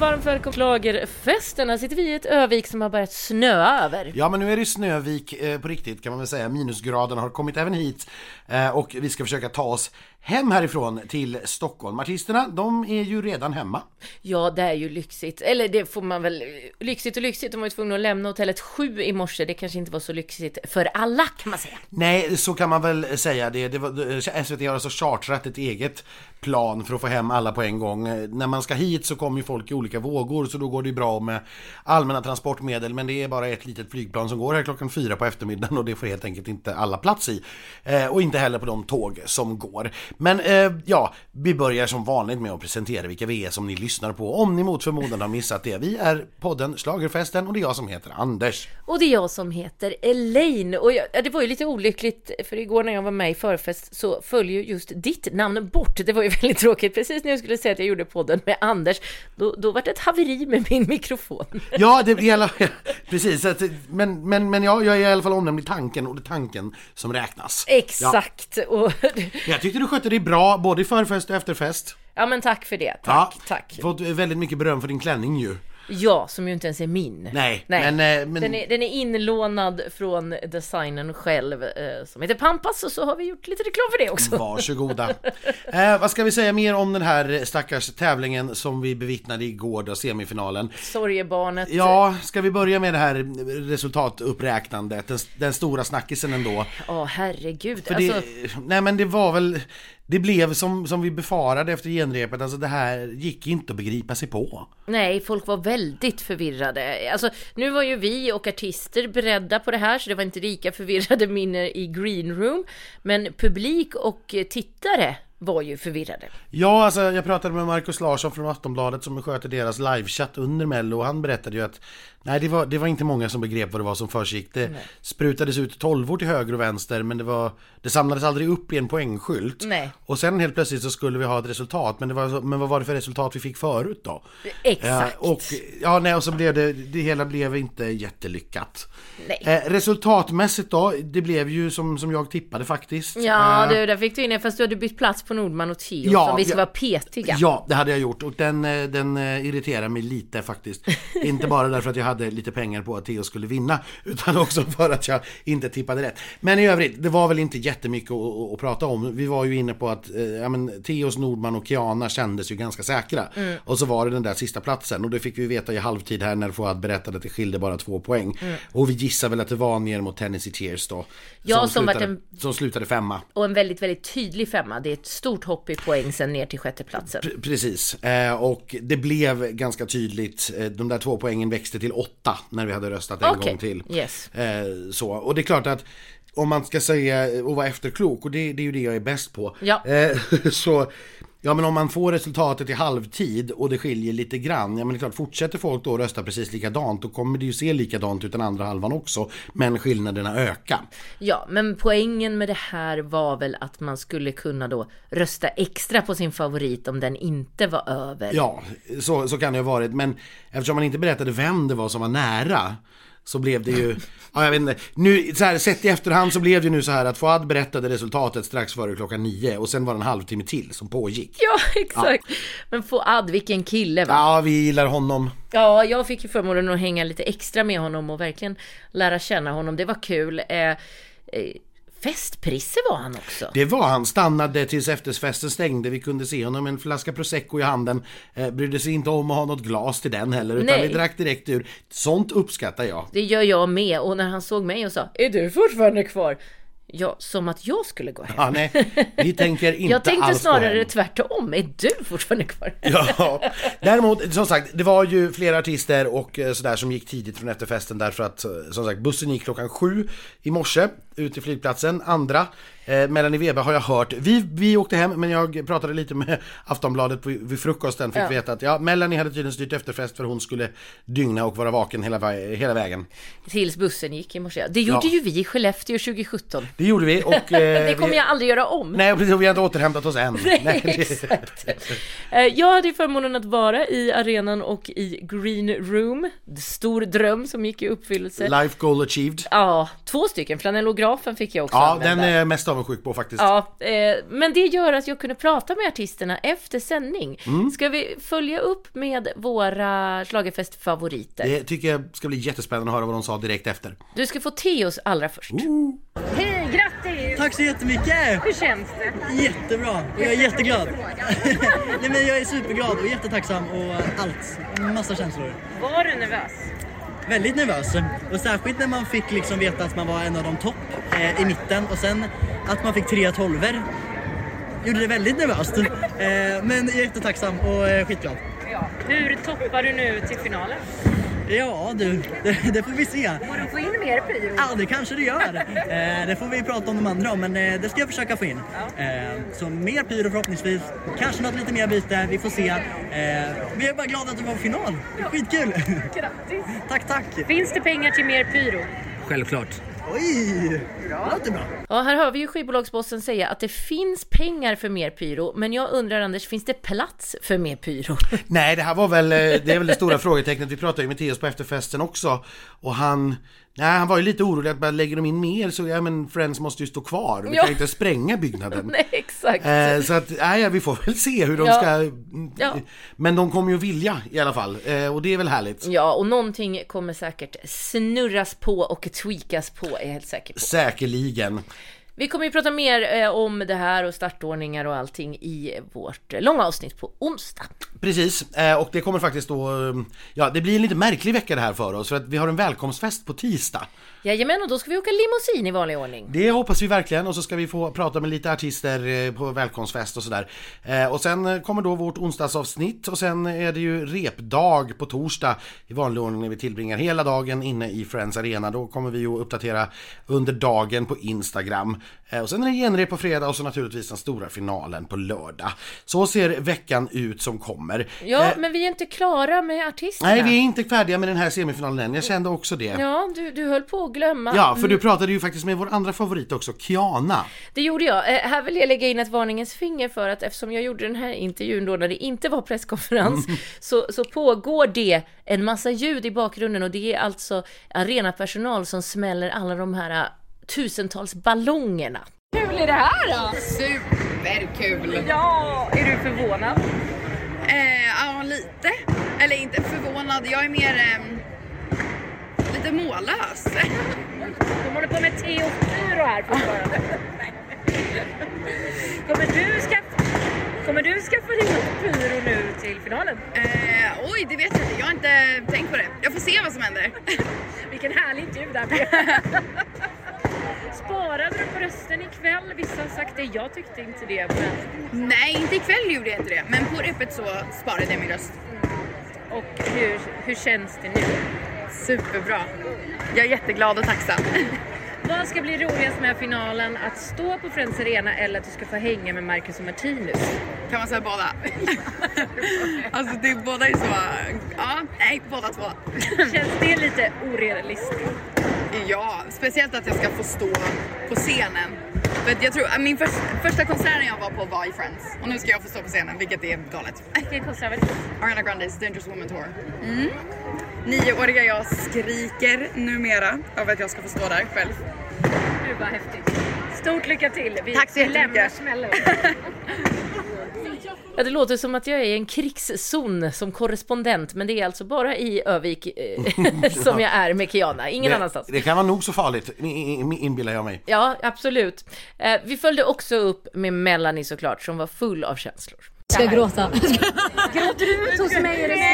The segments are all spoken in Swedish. varmt välkommen till Schlagerfesten. Här sitter vi i ett Övik som har börjat snöa över. Ja men nu är det Snövik eh, på riktigt kan man väl säga. Minusgraden har kommit även hit eh, och vi ska försöka ta oss hem härifrån till Stockholm. Artisterna, de är ju redan hemma. Ja, det är ju lyxigt. Eller det får man väl... Lyxigt och lyxigt. De var ju tvungna att lämna hotellet sju i morse. Det kanske inte var så lyxigt för alla kan man säga. Nej, så kan man väl säga. Det, det var, SVT har alltså chartrat ett eget plan för att få hem alla på en gång. Eh, När man ska hit så kommer ju folk i olika vågor så då går det ju bra med allmänna transportmedel men det är bara ett litet flygplan som går här klockan fyra på eftermiddagen och det får helt enkelt inte alla plats i. Eh, och inte heller på de tåg som går. Men eh, ja, vi börjar som vanligt med att presentera vilka vi är som ni lyssnar på om ni mot förmodan har missat det. Vi är podden Schlagerfesten och det är jag som heter Anders. Och det är jag som heter Elaine. Och jag, ja, det var ju lite olyckligt, för igår när jag var med i förfest så föll ju just ditt namn bort. Det var ju väldigt tråkigt. Precis när jag skulle säga att jag gjorde podden med Anders, då, då var det ett haveri med min mikrofon. Ja, det, i alla, precis. Att, men men, men jag, jag är i alla fall omnämnd i tanken och det är tanken som räknas. Eh. Exakt! Och, Jag tyckte du skötte dig bra, både i förfest och efterfest. ja, men tack för det. Tack, tack. Fått väldigt mycket beröm för din klänning ju. Ja, som ju inte ens är min. Nej, Nej. men... eh, men Den är, den är inlånad från designern själv eh, som heter Pampas och så har vi gjort lite reklam för det också. Mm. Varsågoda. Eh, vad ska vi säga mer om den här stackars tävlingen som vi bevittnade igår då, semifinalen? Sorgebarnet. Ja, ska vi börja med det här resultatuppräknandet? Den, den stora snackisen ändå. Ja, herregud. För alltså, det, nej men det var väl, det blev som, som vi befarade efter genrepet, alltså det här gick inte att begripa sig på. Nej, folk var väldigt förvirrade. Alltså, nu var ju vi och artister beredda på det här, så det var inte lika förvirrade minner i green room. Men publik och eh, tittare var ju förvirrade. Ja, alltså jag pratade med Markus Larsson från Aftonbladet som sköter deras livechatt under Mello och han berättade ju att nej, det var, det var inte många som begrep vad det var som försiggick. Det sprutades ut tolvor till höger och vänster men det, var, det samlades aldrig upp i en poängskylt. Nej. Och sen helt plötsligt så skulle vi ha ett resultat men, det var, så- men vad var det för resultat vi fick förut då? Exakt. Ja, och, ja, nej, och så blev det, det hela blev inte jättelyckat. Nej. Eh, resultatmässigt då, det blev ju som, som jag tippade faktiskt. Ja, Eh, du, där fick du in det. Fast du hade bytt plats på Nordman och Theo, Ja, som vi ska ja. vara petiga. Ja, det hade jag gjort och den, eh, den eh, irriterar mig lite faktiskt. inte bara därför att jag hade lite pengar på att Theo skulle vinna, utan också för att jag inte tippade rätt. Men i övrigt, det var väl inte jättemycket att, att, att prata om. Vi var ju inne på att eh, ja, men, Theos, Nordman och Kiana kändes ju ganska säkra. Mm. Och så var det den där sista platsen och det fick vi veta i halvtid här när Fouad berättade att det skilde bara två poäng. Mm. Och vi gissar väl att det var ner mot Tennessee Tears då. Ja, som vart slutade, som slutade femma. Och en väldigt, väldigt tydlig femma. Det är ett stort hopp i poäng sen ner till sjätteplatsen. Pre- Precis, eh, och det blev ganska tydligt. Eh, De där två poängen växte till åtta när vi hade röstat en Okej, gång till. yes. Eh, Så. Och det är klart att om man ska säga eh, och vara efterklok, och det, det är ju det jag är bäst på. Ja. Eh, Så, ja men om man får resultatet i halvtid och det skiljer lite grann, ja men det är klart fortsätter folk då rösta precis likadant då kommer det ju se likadant ut den andra halvan också, men skillnaderna ökar. Ja, men poängen med det här var väl att man skulle kunna då rösta extra på sin favorit om den inte var över. Ja, så, så kan det ha varit. Men eftersom man inte berättade vem det var som var nära så blev det ju, ja, jag vet inte, nu, så här, sett i efterhand så blev det ju nu så här att Fouad berättade resultatet strax före klockan nio och sen var det en halvtimme till som pågick. Ja, exakt. Men Fouad, vilken kille va? Ja, vi gillar honom. Ja, jag fick ju förmånen att hänga lite extra med honom och verkligen lära känna honom. Det var kul. Eh, eh, festpriser var han också. Det var han, stannade tills efterfesten stängde, vi kunde se honom med en flaska prosecco i handen, eh, brydde sig inte om att ha något glas till den heller utan Nej. vi drack direkt ur. Sånt uppskattar jag. Det gör jag med. Och när han såg mig och sa Är du fortfarande kvar? Ja, som att jag skulle gå hem. Ja, nej, vi tänker inte jag tänkte alls gå hem. snarare tvärtom. Är du fortfarande kvar? Ja, däremot som sagt, det var ju flera artister och eh, sådär som gick tidigt från efterfesten därför att eh, som sagt bussen gick klockan sju i morse ut till flygplatsen, andra. Eh, Melanie Weber har jag hört. Vi, vi åkte hem men jag pratade lite med Aftonbladet på- vid frukosten, fick veta att ja, Melanie hade tydligen styrt efterfest för hon skulle dygna och vara vaken hela, va- hela vägen. Tills bussen gick i morse. Det gjorde Ja. ju vi i Skellefteå 2017. Det gjorde vi och... eh, Det kommer vi, jag aldrig göra om. Nej precis, vi har inte återhämtat oss än. Nej, det- Exakt. Eh, Jag hade ju förmånen att vara i arenan och i Green Room. Stor dröm som gick i uppfyllelse. Life goal achieved. Ja, två stycken. Flanell och autografen fick jag också Ja, använda. den är jag mest avundsjuk på faktiskt. Ja, eh, men det gör att jag kunde prata med artisterna efter sändning. Mm. Ska vi följa upp med våra schlagerfestfavoriter? Det tycker jag ska bli jättespännande att höra vad de sa direkt efter. Du ska få Teos allra först. Hej, grattis! Tack så jättemycket! Hur känns det? Jättebra! Jag är jätteglad. Nej, men jag är superglad och jättetacksam och allt. Massa känslor. Var du nervös? Väldigt nervös. Och särskilt när man fick liksom veta att man var en av de topp eh, i mitten och sen att man fick tre tolver. Gjorde det väldigt nervöst. Eh, men jag är jättetacksam och eh, skitglad. Ja. Hur toppar du nu till finalen? Ja du, det, det får vi se. Får du få in mer prio? Ja, det kanske det gör. Eh, det får vi prata om de andra om, men eh, det ska jag försöka få in. Eh, så mer pyro förhoppningsvis. Kanske något lite mer byte, vi får se. Eh, vi är bara glada att du var på final. Skitkul! Grattis! tack, tack! Finns det pengar till mer pyro? Självklart. Oj! Det låter bra. Ja, här hör vi ju skivbolagsbossen säga att det finns pengar för mer pyro, men jag undrar Anders, finns det plats för mer pyro? Nej, det här var väl, eh, det är väl det stora frågetecknet. Vi pratade ju med Theoz på efterfesten också. Och han, nej han var ju lite orolig att bara lägger de in mer så, ja men Friends måste ju stå kvar. Vi Ja. kan ju inte spränga byggnaden. Nej, exakt. Eh, så att, nej, vi får väl se hur de Ja. ska... Ja. Men de kommer ju vilja i alla fall. Eh, och det är väl härligt. Ja, och någonting kommer säkert snurras på och tweakas på, är jag helt säker på. Säkerligen. Vi kommer ju prata mer eh, om det här och startordningar och allting i vårt eh, långa avsnitt på onsdag. Precis, eh, och det kommer faktiskt då... eh, Ja, det blir en lite märklig vecka det här för oss. För att vi har en välkomstfest på tisdag. Jajamän, och då ska vi åka limousin i vanlig ordning. Det hoppas vi verkligen och så ska vi få prata med lite artister eh, på välkomstfest och sådär. Eh, Och sen eh, kommer då vårt onsdagsavsnitt och sen är det ju repdag på torsdag i vanlig ordning när vi tillbringar hela dagen inne i Friends Arena. Då kommer vi att uppdatera under dagen på Instagram. Eh, Och sen är det genrep på fredag och så naturligtvis den stora finalen på lördag. Så ser veckan ut som kommer. Ja, Eh, men vi är inte klara med artisterna. Nej, vi är inte färdiga med den här semifinalen än. Jag kände också det. Ja, du, du höll på att glömma. Ja, för du pratade ju faktiskt med vår andra favorit också, Kiana. Det gjorde jag. Eh, här vill jag lägga in ett varningens finger för att eftersom jag gjorde den här intervjun då när det inte var presskonferens Mm. så, så pågår det en massa ljud i bakgrunden och det är alltså arenapersonal som smäller alla de här eh, tusentals ballongerna. Kul är det här då? Superkul! Ja, är du förvånad? Eh, ja, lite. Eller inte förvånad, jag är mer ehm, lite mållös. De håller på med te och pyro här fortfarande. Kommer du skaffa, kommer du skaffa ihop pyro nu till finalen? Eh, oj, det vet jag inte. Jag har inte tänkt på det. Jag får se vad som händer. Vilken härlig intervju det här blev. Sparade du på rösten ikväll? Vissa har sagt det, jag tyckte inte det. Men... Nej, inte ikväll gjorde jag inte det. Men på repet så sparade jag min röst. Och hur, hur känns det nu? Superbra. Jag är jätteglad och tacksam. Vad ska bli roligast med finalen? Att stå på Friends Arena eller att du ska få hänga med Marcus och Martinus? Kan man säga båda? alltså, det, båda är så... Ja, nej, båda två. Känns det lite orealistiskt? Ja, speciellt att jag ska få stå på scenen. För att jag tror, min förs- första konserten jag var på var i Friends. Och nu ska jag få stå på scenen, vilket är galet. Vilken konsert var det? Ariana Grandes Dangerous Woman Tour. Mm. Nioåriga jag skriker numera över att jag ska få stå där själv. Gud vad häftigt. Stort lycka till. Vi Tack så vi lämnar jättemycket. smällen. Ja, det låter som att jag är i en krigszon som korrespondent, men det är alltså bara i Övik eh, som jag är med Kiana, ingen det, annanstans. Det kan vara nog så farligt, i- i- inbillar jag mig. Ja, absolut. Eh, vi följde också upp med Melanie såklart, som var full av känslor. Ska jag gråta?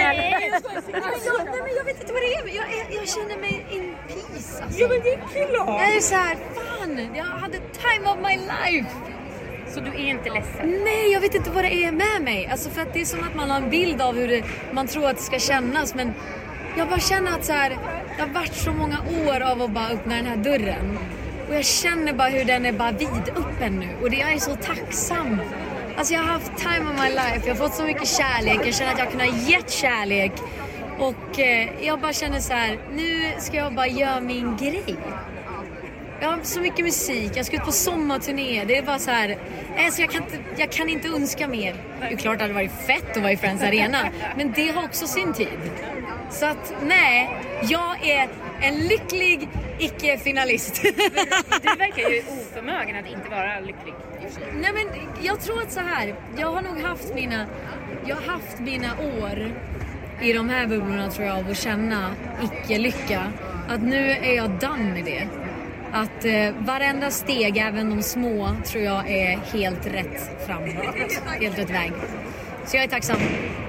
Ja, nej, men jag vet inte vad det är. men Jag, är, jag känner mig in peace. Alltså. Ja, men det är klart. Jag är så här, fan, jag hade time of my life. Så du är inte ledsen? Nej, jag vet inte vad det är med mig. Alltså, för att det är som att man har en bild av hur det, man tror att det ska kännas. Men jag bara känner att så här, det har varit så många år av att bara öppna den här dörren. Och jag känner bara hur den är bara vidöppen nu. Och det, jag är så tacksam. Alltså jag har haft time of my life. Jag har fått så mycket kärlek. Jag känner att jag har kunnat gett kärlek. Och eh, jag bara känner så här, nu ska jag bara göra min grej. Jag har så mycket musik, jag ska ut på sommarturné. Det är bara så här, alltså jag, kan inte, jag kan inte önska mer. Det är klart det hade varit fett att vara i Friends Arena, men det har också sin tid. Så att nej, jag är En lycklig icke-finalist. Du verkar ju oförmögen att inte vara lycklig. Nej men jag tror att så här. Jag har nog haft mina, jag har haft mina år i de här bubblorna tror jag av att känna icke-lycka. Att nu är jag done med det. Att eh, varenda steg, även de små, tror jag är helt rätt framåt. Helt rätt väg. Så jag är tacksam.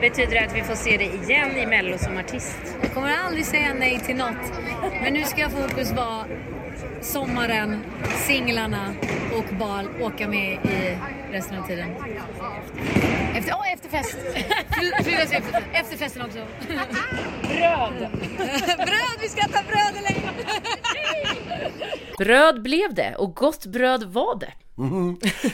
Betyder det att vi får se dig igen i Mello som artist? Jag kommer aldrig säga nej till något. Men nu ska fokus vara sommaren, singlarna och bara åka med i resten av tiden. Efter, oh, efterfest! Fri- friidrotts- efter- Efterfesten också. Bröd! bröd! Vi ska äta bröd eller Bröd blev det och gott bröd var det.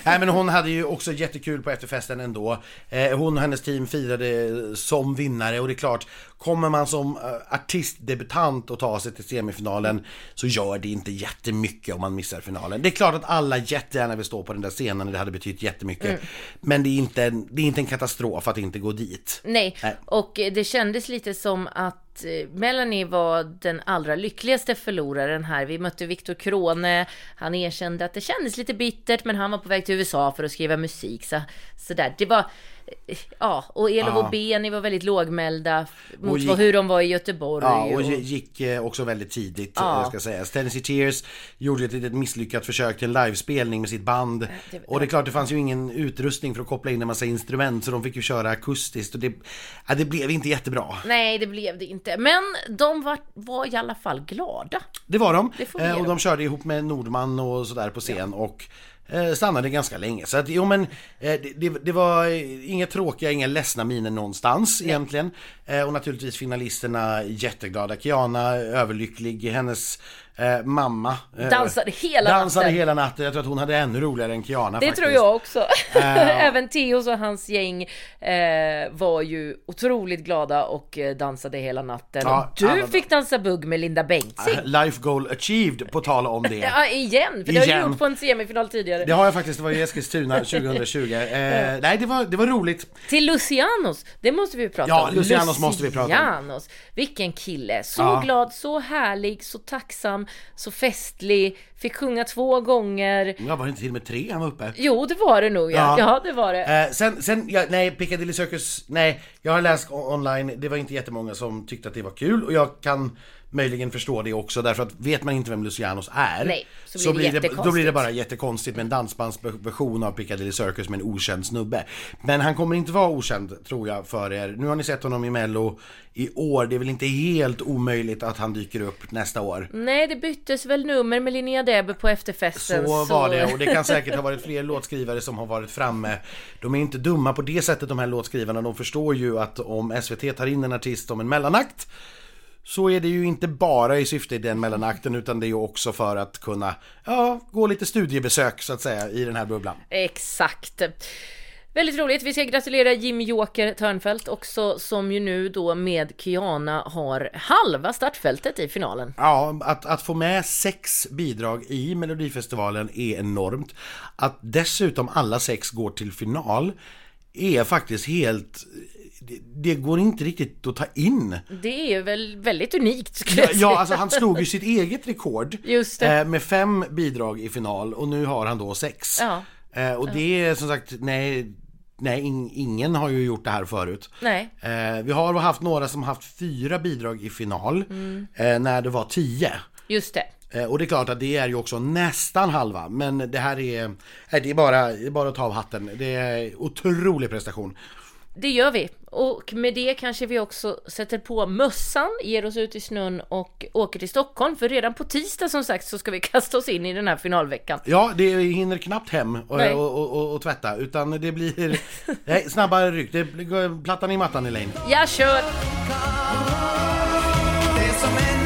Nej men hon hade ju också jättekul på efterfesten ändå. Eh, Hon och hennes team firade som vinnare och det är klart, kommer man som eh, artistdebutant och ta sig till semifinalen så gör det inte jättemycket om man missar finalen. Det är klart att alla jättegärna vill stå på den där scenen, det hade betytt jättemycket. Mm. Men det är, inte en, det är inte en katastrof att inte gå dit. Nej. Nej. och eh, det kändes lite som att eh, Melanie var den allra lyckligaste förloraren här. Vi mötte Viktor Krone, han erkände att det kändes lite bittert men han var på väg till USA för att skriva musik. Så, så där. Det var, eh, ja, och Elof Ja. och Beni var väldigt lågmälda mot Ah. Och gick- vad- hur de var i Göteborg. Ja, och och- gi- gick eh, också väldigt tidigt Ja. eh, ska sägas. Tennessee Tears gjorde ett litet misslyckat försök till en livespelning med sitt band. Och Eh, det är klart, det fanns ju ingen utrustning för att koppla in en massa instrument så de fick ju köra akustiskt och det, ja, det blev inte jättebra. Nej, det blev det inte. Men de var, var i alla fall glada. Det var de. Det får vi eh, ge och de dem. körde ihop med Nordman och sådär på scen och eh, stannade ganska länge. Så att, jo men eh, det, det, det var eh, inga tråkiga, inga ledsna miner någonstans egentligen. Eh, och naturligtvis finalisterna jätteglada. Kiana överlycklig, hennes eh, mamma eh, Dansade hela dansade natten. hela natten. Jag tror att hon hade ännu roligare än Kiana Det faktiskt. tror jag också. Äh. Även Theos och hans gäng eh, var ju otroligt glada och eh, dansade hela natten. Ja, och du alla- fick dansa bugg med Linda Bengtzing. Eh, Life goal achieved på tal om det. Ja, igen! För det har Igen. du gjort på en semifinal tidigare. Det har jag faktiskt, det var i Eskilstuna 2020. Eh, nej, det var, det var roligt. Till Lucianos, det måste vi ju prata Ja, om. Lucianos måste vi prata om. Lucianos, vilken kille! Så Ja. glad, så härlig, så tacksam, så festlig. Fick sjunga två gånger. Ja, var det inte till och med tre han var uppe? Jo, det var det nog ja. Ja. Ja, det var det. Eh, sen, sen ja, nej, Piccadilly Circus, nej, jag har läst o- online, det var inte jättemånga som tyckte att det var kul och jag kan möjligen förstå det också därför att vet man inte vem Lucianos är Nej, så blir det Då blir det jättekonstigt. bara jättekonstigt med en dansbandsversion av Piccadilly Circus med en okänd snubbe. Men han kommer inte vara okänd tror jag för er. Nu har ni sett honom i Mello i år, det är väl inte helt omöjligt att han dyker upp nästa år. Nej, det byttes väl nummer med Linnea Debe på efterfesten. Så var det och det kan säkert ha varit fler låtskrivare som har varit framme. De är inte dumma på det sättet de här låtskrivarna. De förstår ju att om SVT tar in en artist som en mellanakt så är det ju inte bara i syfte i den mellanakten utan det är ju också för att kunna ja, gå lite studiebesök så att säga i den här bubblan. Exakt. Väldigt roligt. Vi ska gratulera Jim Joker Törnfeldt också som ju nu då med Kiana har halva startfältet i finalen. Ja, att, att få med sex bidrag i Melodifestivalen är enormt. Att dessutom alla sex går till final är faktiskt helt... Det, det går inte riktigt att ta in. Det är väl väldigt unikt skulle jag säga. Ja, alltså han slog ju sitt eget rekord Just det. eh, med fem bidrag i final och nu har han då sex. Ja. Eh, och det är som sagt, nej, nej in, ingen har ju gjort det här förut. Nej. Eh, vi har haft några som haft fyra bidrag i final Mm. eh, när det var tio. Just det. Eh, Och det är klart att det är ju också nästan halva, men det här är, nej, det är, bara, det är bara att ta av hatten. Det är otrolig prestation. Det gör vi. Och med det kanske vi också sätter på mössan, ger oss ut i snön och åker till Stockholm. För redan på tisdag som sagt så ska vi kasta oss in i den här finalveckan. Ja, det hinner knappt hem och, Nej. och, och, och, och tvätta, utan det blir nej, snabbare ryck. Det blir plattan i mattan, Elaine. Jag kör! Det som händer